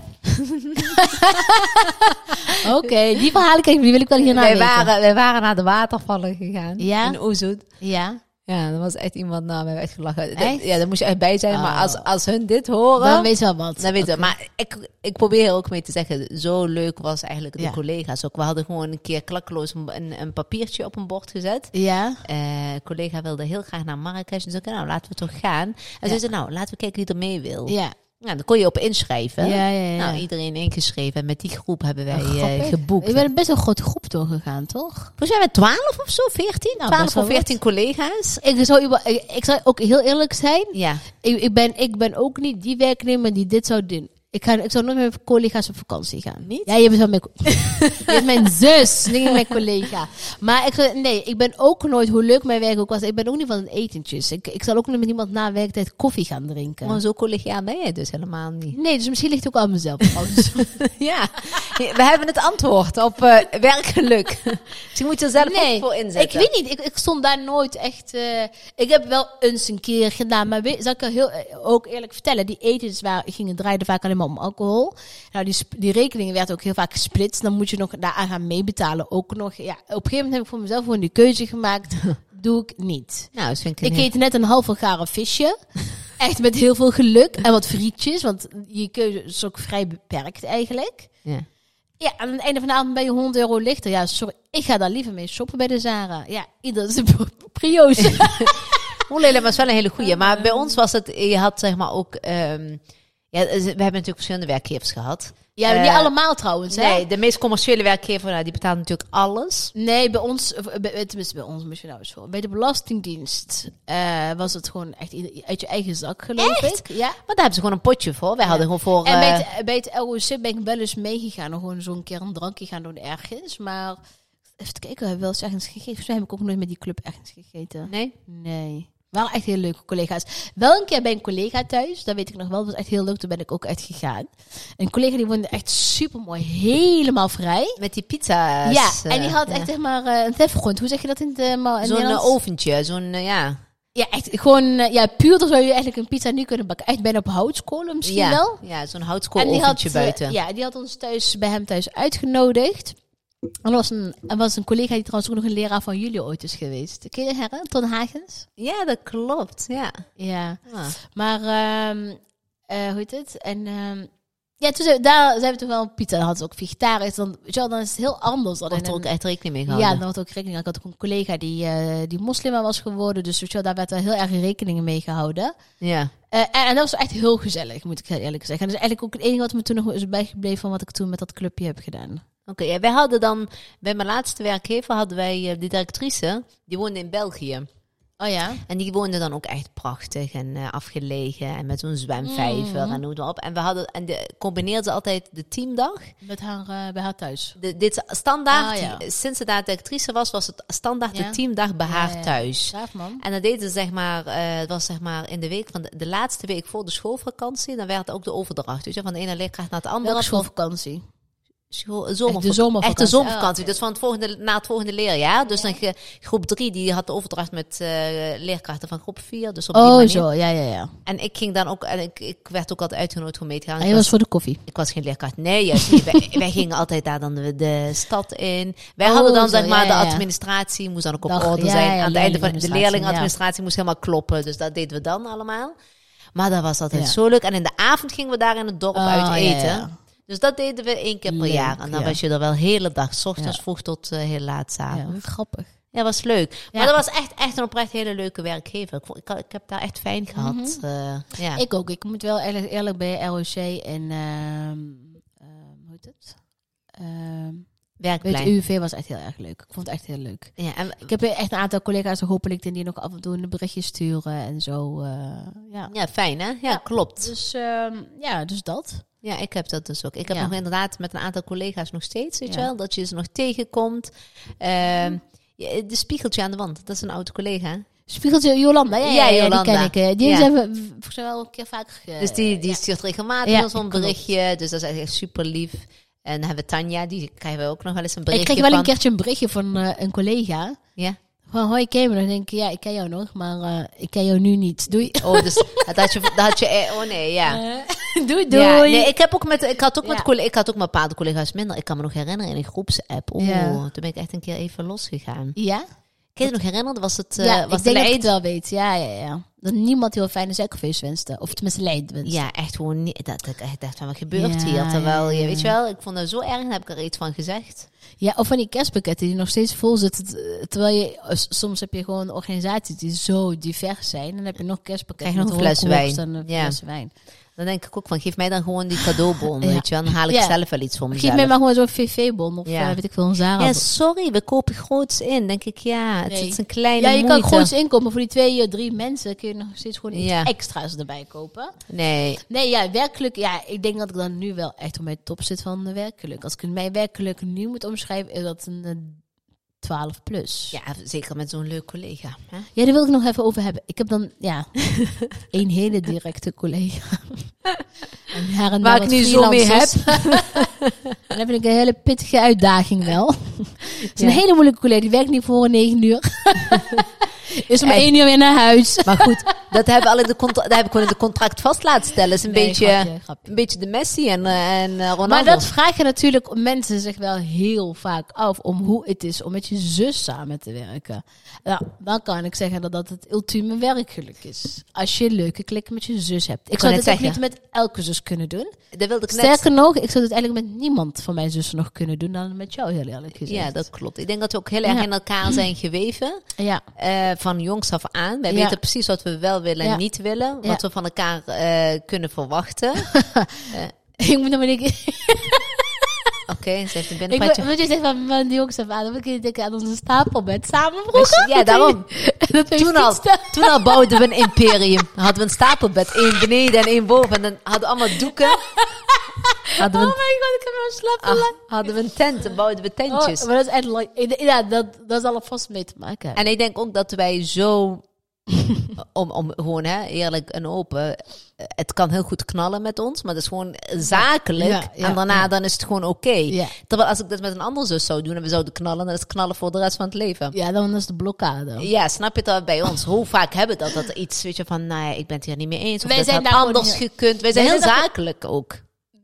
Speaker 1: Oké, die verhalen kijk, die wil ik wel hierna
Speaker 2: Wij
Speaker 1: weten.
Speaker 2: waren, wij waren naar de watervallen gegaan.
Speaker 1: Ja?
Speaker 2: In Oezoet.
Speaker 1: Ja,
Speaker 2: Ja, dat was echt iemand, nou, we hebben echt gelachen. Dat-
Speaker 1: Echt?
Speaker 2: Ja, daar moest je echt bij zijn. Maar
Speaker 1: Oh.
Speaker 2: als, als hun dit horen...
Speaker 1: dan weet je wel wat.
Speaker 2: Dat weet je, maar ik, ik probeer er ook mee te zeggen, zo leuk was eigenlijk de
Speaker 1: Ja.
Speaker 2: collega's ook. We hadden gewoon een keer klakkeloos een, een, een papiertje op een bord gezet.
Speaker 1: Ja,
Speaker 2: Eh, een collega wilde heel graag naar Marrakesh, dus ik nou laten we toch gaan. En ze zei, nou laten we kijken wie er mee wil.
Speaker 1: ja.
Speaker 2: Nou, dan kon je op inschrijven.
Speaker 1: Ja, ja, ja.
Speaker 2: Nou, iedereen ingeschreven en met die groep hebben wij
Speaker 1: Oh,
Speaker 2: eh,
Speaker 1: grappig.
Speaker 2: geboekt.
Speaker 1: Je bent een best wel grote groep doorgegaan, toch?
Speaker 2: Volgens mij hebben we 12 of zo, 14?
Speaker 1: Nou,
Speaker 2: 12
Speaker 1: best wel
Speaker 2: of 14 collega's.
Speaker 1: Ik zou, überhaupt- ik, ik zou ook heel eerlijk zijn.
Speaker 2: Ja,
Speaker 1: Ik, ik, ben, ik ben ook niet die werknemer die dit zou doen. Ik, ga, ik zou nooit met mijn collega's op vakantie gaan.
Speaker 2: Niet?
Speaker 1: Ja, je bent wel mijn, co- je bent mijn zus, niet mijn collega. Maar ik, zou- nee, ik ben ook nooit, hoe leuk mijn werk ook was, ik ben ook niet van het etentjes. Ik, ik zal ook niet met iemand na werktijd koffie gaan drinken.
Speaker 2: maar zo collegiaal ben jij dus helemaal niet.
Speaker 1: Nee, dus misschien ligt het ook aan mezelf. trouwens.
Speaker 2: Ja, we hebben het antwoord op eh, werkgeluk. Misschien moet je er zelf ook voor
Speaker 1: ik
Speaker 2: inzetten.
Speaker 1: weet niet. Ik, ik stond daar nooit echt... eh, ik heb wel eens een keer gedaan, maar weet, zal ik je heel, eh, ook eerlijk vertellen? Die etens waren, gingen draaiden vaak alleen maar om alcohol. Nou, die, sp- die rekeningen werden ook heel vaak gesplitst. Dan moet je nog daaraan gaan meebetalen. Ook nog, ja, op een gegeven moment heb ik voor mezelf gewoon die keuze gemaakt. Doe ik niet.
Speaker 2: Nou, dat vind ik,
Speaker 1: Ik
Speaker 2: een-
Speaker 1: eet net een halve garen visje. Echt met heel veel geluk en wat frietjes, want je keuze is ook vrij beperkt eigenlijk.
Speaker 2: ja.
Speaker 1: Ja, aan het einde van de avond ben je 100 euro lichter. Ja, sorry, ik ga daar liever mee shoppen bij de Zara. Ja, ieder is een prio's.
Speaker 2: Oelele was wel een hele goeie. Maar bij ons was het, je had zeg maar ook... ehm, ja, we hebben natuurlijk verschillende werkgevers gehad.
Speaker 1: Ja,
Speaker 2: Eh,
Speaker 1: niet allemaal trouwens, hè?
Speaker 2: Nee,
Speaker 1: Nee,
Speaker 2: de meest commerciële werkgever, nou, die betaalt natuurlijk alles.
Speaker 1: bij ons, of, eh, bij- tenminste bij ons, misschien nou eens voor. Bij de Belastingdienst eh, was het gewoon echt ieder- uit je eigen zak, geloof ik. Ja.
Speaker 2: Maar daar hebben ze gewoon een potje voor. Wij hadden gewoon voor...
Speaker 1: En bij
Speaker 2: eh,
Speaker 1: het, bij het LOC ben ik wel eens meegegaan. om Gewoon zo'n keer een drankje gaan doen ergens. Maar even kijken, we hebben wel eens ergens gegeten. Volgens mij heb ik ook nooit met die club ergens gegeten.
Speaker 2: eh, Nee?
Speaker 1: Nee. Wel echt hele leuke collega's. Wel een keer bij een collega thuis, dat weet ik nog wel. Dat was echt heel leuk, toen ben ik ook echt gegaan. Een collega die woonde echt super mooi, helemaal vrij.
Speaker 2: Met die pizza's.
Speaker 1: ja,
Speaker 2: eh,
Speaker 1: en die had
Speaker 2: ja.
Speaker 1: echt zeg maar eh, een tefgrond. Hoe zeg je dat in het eh, ma- in
Speaker 2: Zo'n
Speaker 1: Nederlands?
Speaker 2: eh, oventje, zo'n, eh, ja.
Speaker 1: Ja, echt gewoon, eh, ja, puur dan zou je eigenlijk een pizza nu kunnen bakken. Echt bijna op houtskolen misschien
Speaker 2: ja.
Speaker 1: wel.
Speaker 2: Ja, zo'n houtskool
Speaker 1: En die had,
Speaker 2: oventje
Speaker 1: eh,
Speaker 2: buiten.
Speaker 1: ja, die had ons thuis bij hem thuis uitgenodigd. En er was een, er was een collega die trouwens ook nog een leraar van jullie ooit is geweest. Ken je heren? Ton Hagens?
Speaker 2: Ja, dat klopt. Ja.
Speaker 1: Ja.
Speaker 2: Ah.
Speaker 1: Maar, ehm, eh, hoe heet het? En ehm, ja, toen zijn we, daar zijn we toen wel een pizza. Dan had ze ook vegetarisch. Dan, weet je wel, dan is het heel anders dan
Speaker 2: Wordt
Speaker 1: in
Speaker 2: er ook
Speaker 1: een-
Speaker 2: echt rekening mee
Speaker 1: ja,
Speaker 2: gehouden.
Speaker 1: dan had ook rekening. Ik had ook een collega die, eh, die moslima was geworden. Dus weet je wel, daar werd wel heel erg rekening mee gehouden.
Speaker 2: Ja.
Speaker 1: Eh, en, en dat was echt heel gezellig, moet ik heel eerlijk zeggen. En dat is eigenlijk ook het enige wat me toen nog is bijgebleven van wat ik toen met dat clubje heb gedaan.
Speaker 2: Oké, ja, wij hadden dan, bij mijn laatste werkgever hadden wij eh, de directrice, die woonde in België.
Speaker 1: Oh ja?
Speaker 2: En die woonde dan ook echt prachtig en eh, afgelegen en met zo'n zwemvijver
Speaker 1: Mm.
Speaker 2: en noem maar op. En we hadden, en de, combineerden altijd de teamdag.
Speaker 1: Met haar, eh, bij haar thuis.
Speaker 2: De, dit standaard,
Speaker 1: Ah, ja.
Speaker 2: sinds ze daar directrice was, was het standaard
Speaker 1: Ja.
Speaker 2: de teamdag bij
Speaker 1: Ja,
Speaker 2: haar
Speaker 1: ja, ja.
Speaker 2: thuis.
Speaker 1: Graaf man.
Speaker 2: En dat deden ze zeg maar, eh, het was zeg maar in de week van de, de laatste week voor de schoolvakantie. Dan werd ook de overdracht, weet je, van de ene leerkracht naar het andere.
Speaker 1: Welke schoolvakantie?
Speaker 2: School- zomervak-
Speaker 1: Echt de zomervakantie.
Speaker 2: Echt de
Speaker 1: Ah,
Speaker 2: zomervakantie.
Speaker 1: oké.
Speaker 2: Dus van het volgende, na het volgende leerjaar. Dus dan ge- groep 3 die had de overdracht met eh, leerkrachten van groep 4. Dus op die
Speaker 1: Oh
Speaker 2: manier.
Speaker 1: zo, ja, ja, ja.
Speaker 2: En ik ging dan ook, en ik, ik werd ook altijd uitgenodigd om mee te gaan.
Speaker 1: En
Speaker 2: Ik
Speaker 1: Ah, je
Speaker 2: was,
Speaker 1: was voor de koffie.
Speaker 2: ik was geen leerkracht. Nee, juist niet. wij, wij gingen altijd daar dan de, de stad in. Wij
Speaker 1: Oh,
Speaker 2: hadden dan
Speaker 1: zo,
Speaker 2: zeg maar
Speaker 1: ja, ja.
Speaker 2: de administratie moest dan ook op
Speaker 1: Dag,
Speaker 2: orde
Speaker 1: ja, ja,
Speaker 2: zijn. Aan het einde van de
Speaker 1: leerlingenadministratie,
Speaker 2: leerlingenadministratie moest helemaal kloppen. Dus dat deden we dan allemaal. Maar dat was altijd
Speaker 1: Ja.
Speaker 2: zo leuk. En in de avond gingen we daar in het dorp
Speaker 1: Oh,
Speaker 2: uit
Speaker 1: ja,
Speaker 2: eten.
Speaker 1: ja.
Speaker 2: Dus dat deden we één keer per
Speaker 1: Leuk,
Speaker 2: jaar. En dan
Speaker 1: ja.
Speaker 2: was je er wel hele dag, s ochtends
Speaker 1: Ja.
Speaker 2: vroeg tot eh, heel laat s'avonds.
Speaker 1: Ja, grappig.
Speaker 2: Ja, was leuk.
Speaker 1: Ja.
Speaker 2: Maar dat was echt, echt een oprecht hele leuke werkgever. Ik, vond- ik, ik heb daar echt fijn gehad. eh, ja.
Speaker 1: Mhm. Ik ook. Ik moet wel eerlijk, eerlijk bij ROC en ehm, ehm, hoe heet het? Ehm, weet,
Speaker 2: Werkplein.
Speaker 1: UWV was echt heel erg leuk. Ik vond het echt heel leuk.
Speaker 2: Ja, en,
Speaker 1: Ik heb echt een aantal collega's nog hopelijk die nog af en toe een berichtje sturen en zo. eh, ja.
Speaker 2: ja, fijn hè? Ja, klopt.
Speaker 1: Dus ehm, ja, dus dat.
Speaker 2: Ja, ik heb dat dus ook. Ik heb
Speaker 1: Ja.
Speaker 2: nog inderdaad met een aantal collega's nog steeds, weet je
Speaker 1: Ja.
Speaker 2: wel, dat je ze nog tegenkomt. Ehm, ja, de spiegeltje aan de wand, dat is een oude collega.
Speaker 1: Spiegeltje Jolanda, ja, ja,
Speaker 2: Ja,
Speaker 1: ja, ja, die
Speaker 2: Jolanda.
Speaker 1: ken ik. eh. Die
Speaker 2: Ja.
Speaker 1: zijn we v- volgens mij wel een keer vaker. ge-
Speaker 2: Dus die, die stuurt regelmatig
Speaker 1: Ja,
Speaker 2: wel zo'n
Speaker 1: klopt.
Speaker 2: berichtje. Dus dat is echt super lief. En dan hebben we Tanja, die krijgen we ook nog wel eens een
Speaker 1: ik
Speaker 2: berichtje
Speaker 1: kreeg wel
Speaker 2: van.
Speaker 1: een keertje een berichtje van eh, een collega.
Speaker 2: Ja.
Speaker 1: Van hoi, ken je me? Dan denk ik, ja, ik ken jou nog, maar eh, ik ken jou nu niet. Doei.
Speaker 2: Oh, dus dat had je, dat had je eh, oh nee, ja.
Speaker 1: doei,
Speaker 2: Ja, nee, ik, heb ook met, ik had ook met
Speaker 1: Ja.
Speaker 2: collega's, ik had ook met bepaalde collega's minder. Ik kan me nog herinneren in een groepsapp. Oeh,
Speaker 1: Ja.
Speaker 2: toen ben ik echt een keer even losgegaan.
Speaker 1: ja?
Speaker 2: Kun je je nog herinneren? Was het, eh,
Speaker 1: ja,
Speaker 2: was
Speaker 1: ik denk
Speaker 2: de
Speaker 1: dat ik het
Speaker 2: leid-
Speaker 1: wel weet. Ja, ja, ja. Dat niemand heel fijne suikerfeest wenste. Of tenminste leid wenste.
Speaker 2: Ja, echt gewoon niet. Dat ik echt dacht van wat gebeurt
Speaker 1: Ja,
Speaker 2: hier? Terwijl
Speaker 1: ja,
Speaker 2: je,
Speaker 1: ja.
Speaker 2: weet je wel, ik vond dat zo erg en heb ik er iets van gezegd.
Speaker 1: Ja, of van die kerstpakketten die nog steeds vol zitten. t- Terwijl je, eh, s- soms heb je gewoon organisaties die zo divers zijn. Dan heb je nog kerstpakketten
Speaker 2: Krijg je nog
Speaker 1: met
Speaker 2: een fles
Speaker 1: rookworst
Speaker 2: wijn.
Speaker 1: en een
Speaker 2: Ja.
Speaker 1: fles wijn.
Speaker 2: Dan denk ik ook van geef mij dan gewoon die cadeaubon,
Speaker 1: Ja.
Speaker 2: weet je wel. Dan haal ik
Speaker 1: Ja.
Speaker 2: zelf wel iets voor mezelf.
Speaker 1: Geef mij maar gewoon zo'n VV-bon of
Speaker 2: Ja.
Speaker 1: eh, weet ik veel, een Zara.
Speaker 2: Ja, sorry, we kopen groots in. Denk ik, ja, het
Speaker 1: Nee.
Speaker 2: is een kleine
Speaker 1: Ja, je kan
Speaker 2: moeite.
Speaker 1: groots inkomen. Voor die twee, eh, drie mensen kun je nog steeds gewoon iets
Speaker 2: Ja.
Speaker 1: extra's erbij kopen.
Speaker 2: Nee,
Speaker 1: Nee, ja, werkelijk. Ja, ik denk dat ik dan nu wel echt op mijn top zit van eh, werkelijk. Als ik mijn werkelijk nu moet omschrijven, is dat een eh, 12 plus.
Speaker 2: ja, zeker met zo'n leuk collega. Hè?
Speaker 1: Ja, daar wil ik nog even over hebben. Ik heb dan, ja, een hele directe collega. en haar en daar
Speaker 2: Waar ik
Speaker 1: wat
Speaker 2: nu zo mee
Speaker 1: freelancers. en dan vind ik een hele pittige uitdaging wel. Het is een
Speaker 2: Ja.
Speaker 1: hele moeilijke collega. Die werkt niet voor een negen uur. is om
Speaker 2: Echt.
Speaker 1: één uur weer naar huis.
Speaker 2: Maar goed, dat hebben alle de contra- dat heb ik gewoon in het contract vast laten stellen. Is een
Speaker 1: Nee,
Speaker 2: beetje,
Speaker 1: grapje, grapje.
Speaker 2: een beetje de Messi en, eh, en eh, Ronaldo.
Speaker 1: Maar dat vragen natuurlijk mensen zich wel heel vaak af om hoe het is om met je zus samen te werken. Nou, dan kan ik zeggen dat dat het ultieme werkgeluk is. Als je leuke klikken met je zus hebt. Ik
Speaker 2: kan
Speaker 1: zou
Speaker 2: net
Speaker 1: dit ook niet
Speaker 2: zeggen.
Speaker 1: met elke zus kunnen doen.
Speaker 2: dat wilde ik net.
Speaker 1: Sterker nog, ik zou dit eigenlijk met niemand van mijn zussen nog kunnen doen dan met jou, heel eerlijk gezegd.
Speaker 2: Ja, dat klopt. Ik denk dat we ook heel erg
Speaker 1: Ja.
Speaker 2: in elkaar zijn geweven.
Speaker 1: Ja,
Speaker 2: eh, van jongs af aan. Wij
Speaker 1: Ja.
Speaker 2: weten precies wat we wel willen en
Speaker 1: Ja.
Speaker 2: niet willen. Wat
Speaker 1: Ja.
Speaker 2: we van elkaar eh, kunnen verwachten. Oké,
Speaker 1: ik moet nog maar denken.
Speaker 2: ze heeft een
Speaker 1: Ik moet-
Speaker 2: binnenpatje.
Speaker 1: moet je zeggen van mijn jongens af aan, dan moet ik denken aan onze stapelbed samen vroeger.
Speaker 2: Ja, daarom.
Speaker 1: Dat heeft
Speaker 2: Toen al,
Speaker 1: niets te-
Speaker 2: toen al bouwden we een imperium. Hadden we een stapelbed. één beneden en één boven. En dan hadden we allemaal doeken. Hadden
Speaker 1: Oh
Speaker 2: we
Speaker 1: my
Speaker 2: een,
Speaker 1: god, ik heb nou een slappe
Speaker 2: ah,
Speaker 1: lach.
Speaker 2: hadden we een tent. Dan bouwden we
Speaker 1: Oh,
Speaker 2: tentjes.
Speaker 1: maar dat is echt lang. ik- Ja, dat, dat zal er vast mee te maken hebben.
Speaker 2: En ik denk ook dat wij zo om, om gewoon hè, eerlijk en open. eh, Het kan heel goed knallen met ons, maar het is gewoon zakelijk.
Speaker 1: Ja, ja,
Speaker 2: en daarna
Speaker 1: ja.
Speaker 2: dan is het gewoon oké.
Speaker 1: Ja.
Speaker 2: Terwijl als ik dat met een andere zus zou doen en we zouden knallen, dan is het knallen voor de rest van het leven.
Speaker 1: Ja, dan is de blokkade.
Speaker 2: Ja, snap je dat bij ons? Hoe vaak hebben we dat? Dat er iets, weet je, van, nee, ik ben het hier niet mee eens. Of
Speaker 1: Wij
Speaker 2: dat
Speaker 1: zijn
Speaker 2: had
Speaker 1: daar
Speaker 2: anders
Speaker 1: gewoon
Speaker 2: gekund. Wij zijn
Speaker 1: Wij
Speaker 2: heel
Speaker 1: zijn daar-
Speaker 2: zakelijk ook.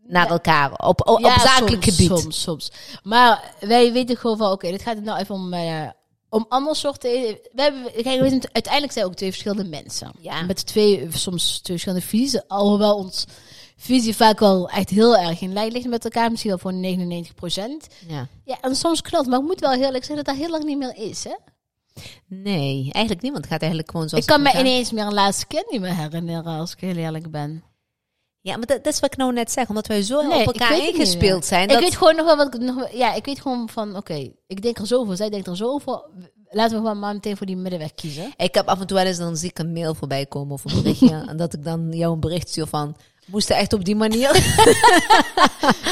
Speaker 2: Naar elkaar. Op, op, op zakelijk
Speaker 1: soms,
Speaker 2: gebied.
Speaker 1: Soms, soms. Maar wij weten gewoon van, oké, dit gaat het nou even om, eh om andere soorten. We hebben, kijk, we zijn, uiteindelijk zijn we ook twee verschillende mensen.
Speaker 2: Ja.
Speaker 1: Met twee, soms twee verschillende visies. Alhoewel ons visie vaak wel echt heel erg in lijn ligt met elkaar. Misschien wel voor 99
Speaker 2: Ja.
Speaker 1: Ja, en soms knalt. Maar ik moet wel heel eerlijk zeggen dat dat heel lang niet meer is, hè?
Speaker 2: Nee, eigenlijk niemand gaat eigenlijk gewoon zoals
Speaker 1: ik kan
Speaker 2: het
Speaker 1: me
Speaker 2: moet gaan.
Speaker 1: ineens meer een laatste kind niet meer herinneren, als ik heel eerlijk ben.
Speaker 2: Ja, maar dat, dat is wat ik nou net zeg. Omdat wij zo
Speaker 1: Nee,
Speaker 2: op
Speaker 1: ik weet
Speaker 2: elkaar
Speaker 1: het niet
Speaker 2: ingespeeld
Speaker 1: meer.
Speaker 2: zijn.
Speaker 1: Ik
Speaker 2: Dat,
Speaker 1: weet gewoon nog wel wat ik nog. Ja, ik weet gewoon van oké, ik denk er zo over, zij denkt er zo over. Laten we gewoon maar meteen voor die middenweg kiezen.
Speaker 2: ik heb af en toe wel eens dan zie ik een mail voorbij komen of een berichtje. en dat ik dan jou een bericht stuur van... Moest echt op die manier?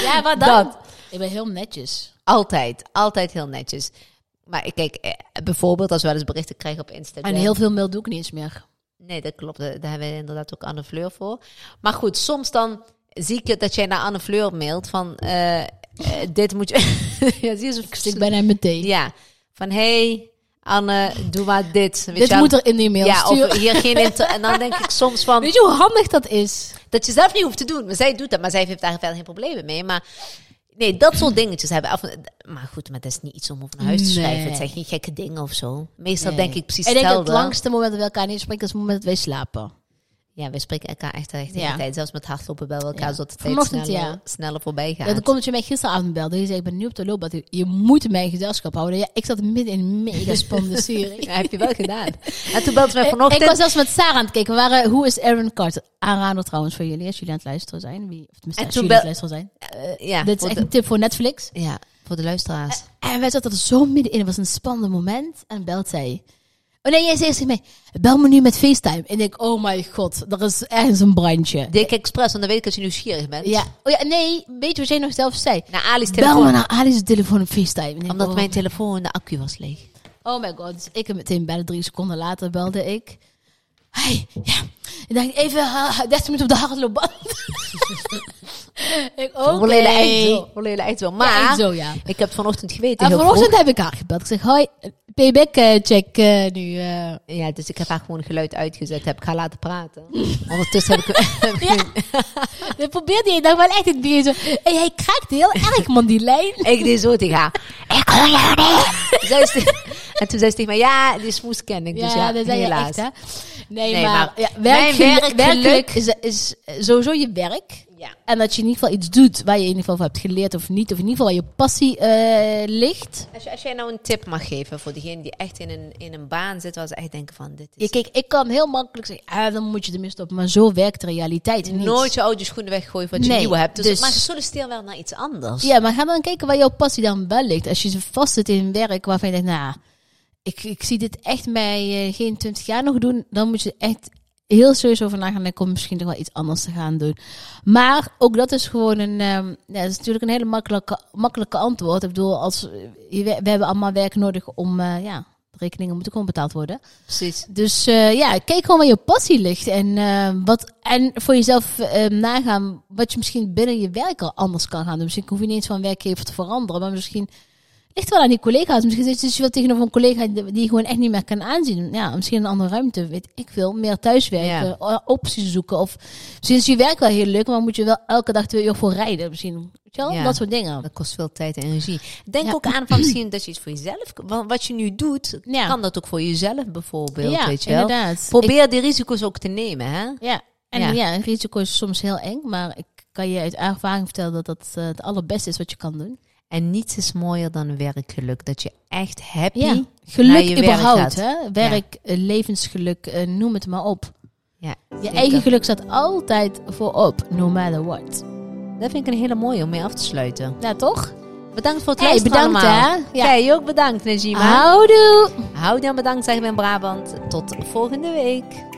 Speaker 1: Ja, maar
Speaker 2: dan-
Speaker 1: Ik ben heel netjes.
Speaker 2: altijd. Altijd heel netjes. Maar ik kijk, eh, bijvoorbeeld als we wel eens berichten krijgen op Instagram.
Speaker 1: En heel veel mail doe ik niet eens meer.
Speaker 2: Nee, dat klopt. Daar daar hebben we inderdaad ook Anne Fleur voor. Maar goed, soms dan zie ik het dat jij naar Anne Fleur mailt van... eh, eh, dit moet je... ja, zie je zo
Speaker 1: Dus Ik stik bijna meteen.
Speaker 2: Ja, van hey, Anne, doe maar dit. Weet je
Speaker 1: Dit
Speaker 2: wel.
Speaker 1: moet er in die mail
Speaker 2: Ja,
Speaker 1: sturen.
Speaker 2: of hier geen inter- En dan denk ik soms van...
Speaker 1: Weet je hoe handig dat is?
Speaker 2: Dat je zelf niet hoeft te doen. Maar zij doet dat, maar zij heeft daar verder geen problemen mee. Maar nee, dat soort dingetjes hebben. af en- maar goed, maar dat is niet iets om over naar huis te
Speaker 1: Nee.
Speaker 2: schrijven. Het zijn geen gekke dingen of zo. Meestal
Speaker 1: Nee.
Speaker 2: denk ik precies
Speaker 1: Ik denk dat het
Speaker 2: hetzelfde.
Speaker 1: langste moment dat we elkaar niet spreken is het moment dat wij slapen.
Speaker 2: Ja, we spreken elkaar echt de hele
Speaker 1: Ja.
Speaker 2: tijd. Zelfs met hardlopen bij elkaar,
Speaker 1: Ja.
Speaker 2: zodat de tijd
Speaker 1: Vanochtend,
Speaker 2: sneller,
Speaker 1: ja.
Speaker 2: sneller voorbij gaat.
Speaker 1: Ja, dan komt dat je mij gisteravond belde. Je zei, ik ben nu op de loopbaan. Je moet mij gezelschap houden. Ja, ik zat midden in een mega spannende serie.
Speaker 2: Ja, heb je wel gedaan. En toen belde ze mij
Speaker 1: Ik-
Speaker 2: vanochtend.
Speaker 1: Eh, Ik was zelfs met Sarah aan het kijken. We waren, hoe is Aaron Carter? Aanrader trouwens voor jullie, als jullie aan het luisteren zijn. Wie, of tenminste,
Speaker 2: En
Speaker 1: als
Speaker 2: toen
Speaker 1: jullie aan het
Speaker 2: bel-
Speaker 1: luisteren zijn.
Speaker 2: Eh, ja,
Speaker 1: Dit is
Speaker 2: voor
Speaker 1: echt
Speaker 2: de-
Speaker 1: een tip voor Netflix.
Speaker 2: ja, voor de luisteraars.
Speaker 1: En wij zaten er zo middenin. Het was een spannend moment. En belt zij. Oh nee, jij zei tegen mij, bel me nu met FaceTime. En ik denk, oh mijn god, er is ergens een brandje.
Speaker 2: Dik expres, want dan weet ik dat je nieuwsgierig bent.
Speaker 1: Ja. Oh ja, nee, weet je wat jij nog zelf zei?
Speaker 2: Naar Ali's
Speaker 1: Bel me
Speaker 2: telefoon.
Speaker 1: naar Ali's telefoon op FaceTime. En ik denk,
Speaker 2: Omdat
Speaker 1: oh,
Speaker 2: mijn telefoon, de accu was leeg.
Speaker 1: Oh my god, dus ik hem meteen bijna drie seconden later belde ik. Hey, ja. Ik dacht even eh, 30 minuten op de hardloopband. ik ook.
Speaker 2: Volledig echt zo. Volledig echt zo. Maar
Speaker 1: Ja, echt zo, ja.
Speaker 2: ik heb het vanochtend geweten.
Speaker 1: En
Speaker 2: heel
Speaker 1: vanochtend heb ik haar gebeld. Ik zeg, hoi, payback eh, check eh, nu. eh."
Speaker 2: vroeg. Ja, dus ik heb haar gewoon geluid uitgezet. Heb ik haar laten praten. Ondertussen heb ik...
Speaker 1: ja. Dat probeerde je dan wel echt in het begin zo. Hey, hij kraakt heel erg, man, die lijn.
Speaker 2: ik deed zo tegen haar. Ik hoor jou niet. Zij is te- en toen zei ze tegen mij, ja, die smoes ken ik. Dus ja,
Speaker 1: dat zei je
Speaker 2: helaas.
Speaker 1: echt, hè? Nee,
Speaker 2: Nee,
Speaker 1: maar,
Speaker 2: maar
Speaker 1: ja,
Speaker 2: mijn
Speaker 1: werkgele-
Speaker 2: werkgeluk-
Speaker 1: werkelijk is, is sowieso je werk.
Speaker 2: Ja.
Speaker 1: En dat je in ieder geval iets doet waar je in ieder geval van hebt geleerd of niet. Of in ieder geval waar je passie eh, ligt.
Speaker 2: Als, je- als jij nou een tip mag geven voor diegene die echt in een, in een baan zit waar ze echt denken van, dit
Speaker 1: Ja,
Speaker 2: is...
Speaker 1: kijk, ik kan heel makkelijk zeggen, ah, dan moet je ermee stoppen. Maar zo werkt de realiteit niet.
Speaker 2: Nooit je oude schoenen weggooien wat je
Speaker 1: Nee,
Speaker 2: nieuwe hebt. Dus,
Speaker 1: dus-
Speaker 2: Maar ze solliciteer wel naar iets anders.
Speaker 1: Ja, maar ga dan kijken waar jouw passie dan wel ligt. Als je zo vast zit in werk waarvan je denkt, nou, ik, ik zie dit echt mij eh, geen twintig jaar nog doen. Dan moet je echt heel serieus over nagaan. Dan komt misschien nog wel iets anders te gaan doen. Maar ook dat is gewoon een, ehm, ja, dat is natuurlijk een hele makkelijke, makkelijke antwoord. Ik bedoel, als, eh, je- we hebben allemaal werk nodig om, eh, ja, de rekeningen moeten gewoon betaald worden.
Speaker 2: Precies.
Speaker 1: Dus eh, ja, kijk gewoon waar je passie ligt. En, eh, wat, en voor jezelf eh, nagaan wat je misschien binnen je werk al anders kan gaan doen. Misschien hoef je niet eens van werkgever te veranderen. Maar misschien ligt het wel aan die collega's. Misschien zit je dus wel tegenover een collega die die je gewoon echt niet meer kan aanzien. Ja, misschien een andere ruimte, weet ik veel. Meer thuiswerken, o- opties zoeken. Of misschien is je werk wel heel leuk, maar moet je wel elke dag twee uur voor rijden. Misschien, weet je wel?
Speaker 2: Ja.
Speaker 1: Dat soort dingen.
Speaker 2: Dat kost veel tijd en energie. Denk
Speaker 1: Ja.
Speaker 2: ook aan van misschien dat je iets voor jezelf... want Wat je nu doet,
Speaker 1: Ja.
Speaker 2: kan dat ook voor jezelf bijvoorbeeld,
Speaker 1: ja,
Speaker 2: weet je wel.
Speaker 1: inderdaad.
Speaker 2: Probeer die risico's ook te nemen, hè.
Speaker 1: Ja, en
Speaker 2: Ja.
Speaker 1: ja. een risico is soms heel eng, maar ik kan je uit ervaring vertellen dat dat eh, het allerbeste is wat je kan doen.
Speaker 2: En niets is mooier dan werkgeluk. Dat je echt happy...
Speaker 1: Ja,
Speaker 2: Ja, naar je
Speaker 1: geluk
Speaker 2: werk gaat.
Speaker 1: überhaupt, hè? Werk, eh, levensgeluk, eh, noem het maar op. Je
Speaker 2: zeker.
Speaker 1: eigen geluk staat altijd voorop, no matter what.
Speaker 2: Dat vind ik een hele mooie om mee af te sluiten.
Speaker 1: Ja, toch?
Speaker 2: Bedankt Ah. voor het
Speaker 1: Hey,
Speaker 2: luisteren
Speaker 1: bedankt
Speaker 2: allemaal.
Speaker 1: hè? Ja.
Speaker 2: Jij ook bedankt, Najima.
Speaker 1: Houdoe!
Speaker 2: Houdoe en bedankt, zeggen we in Brabant. Tot volgende week.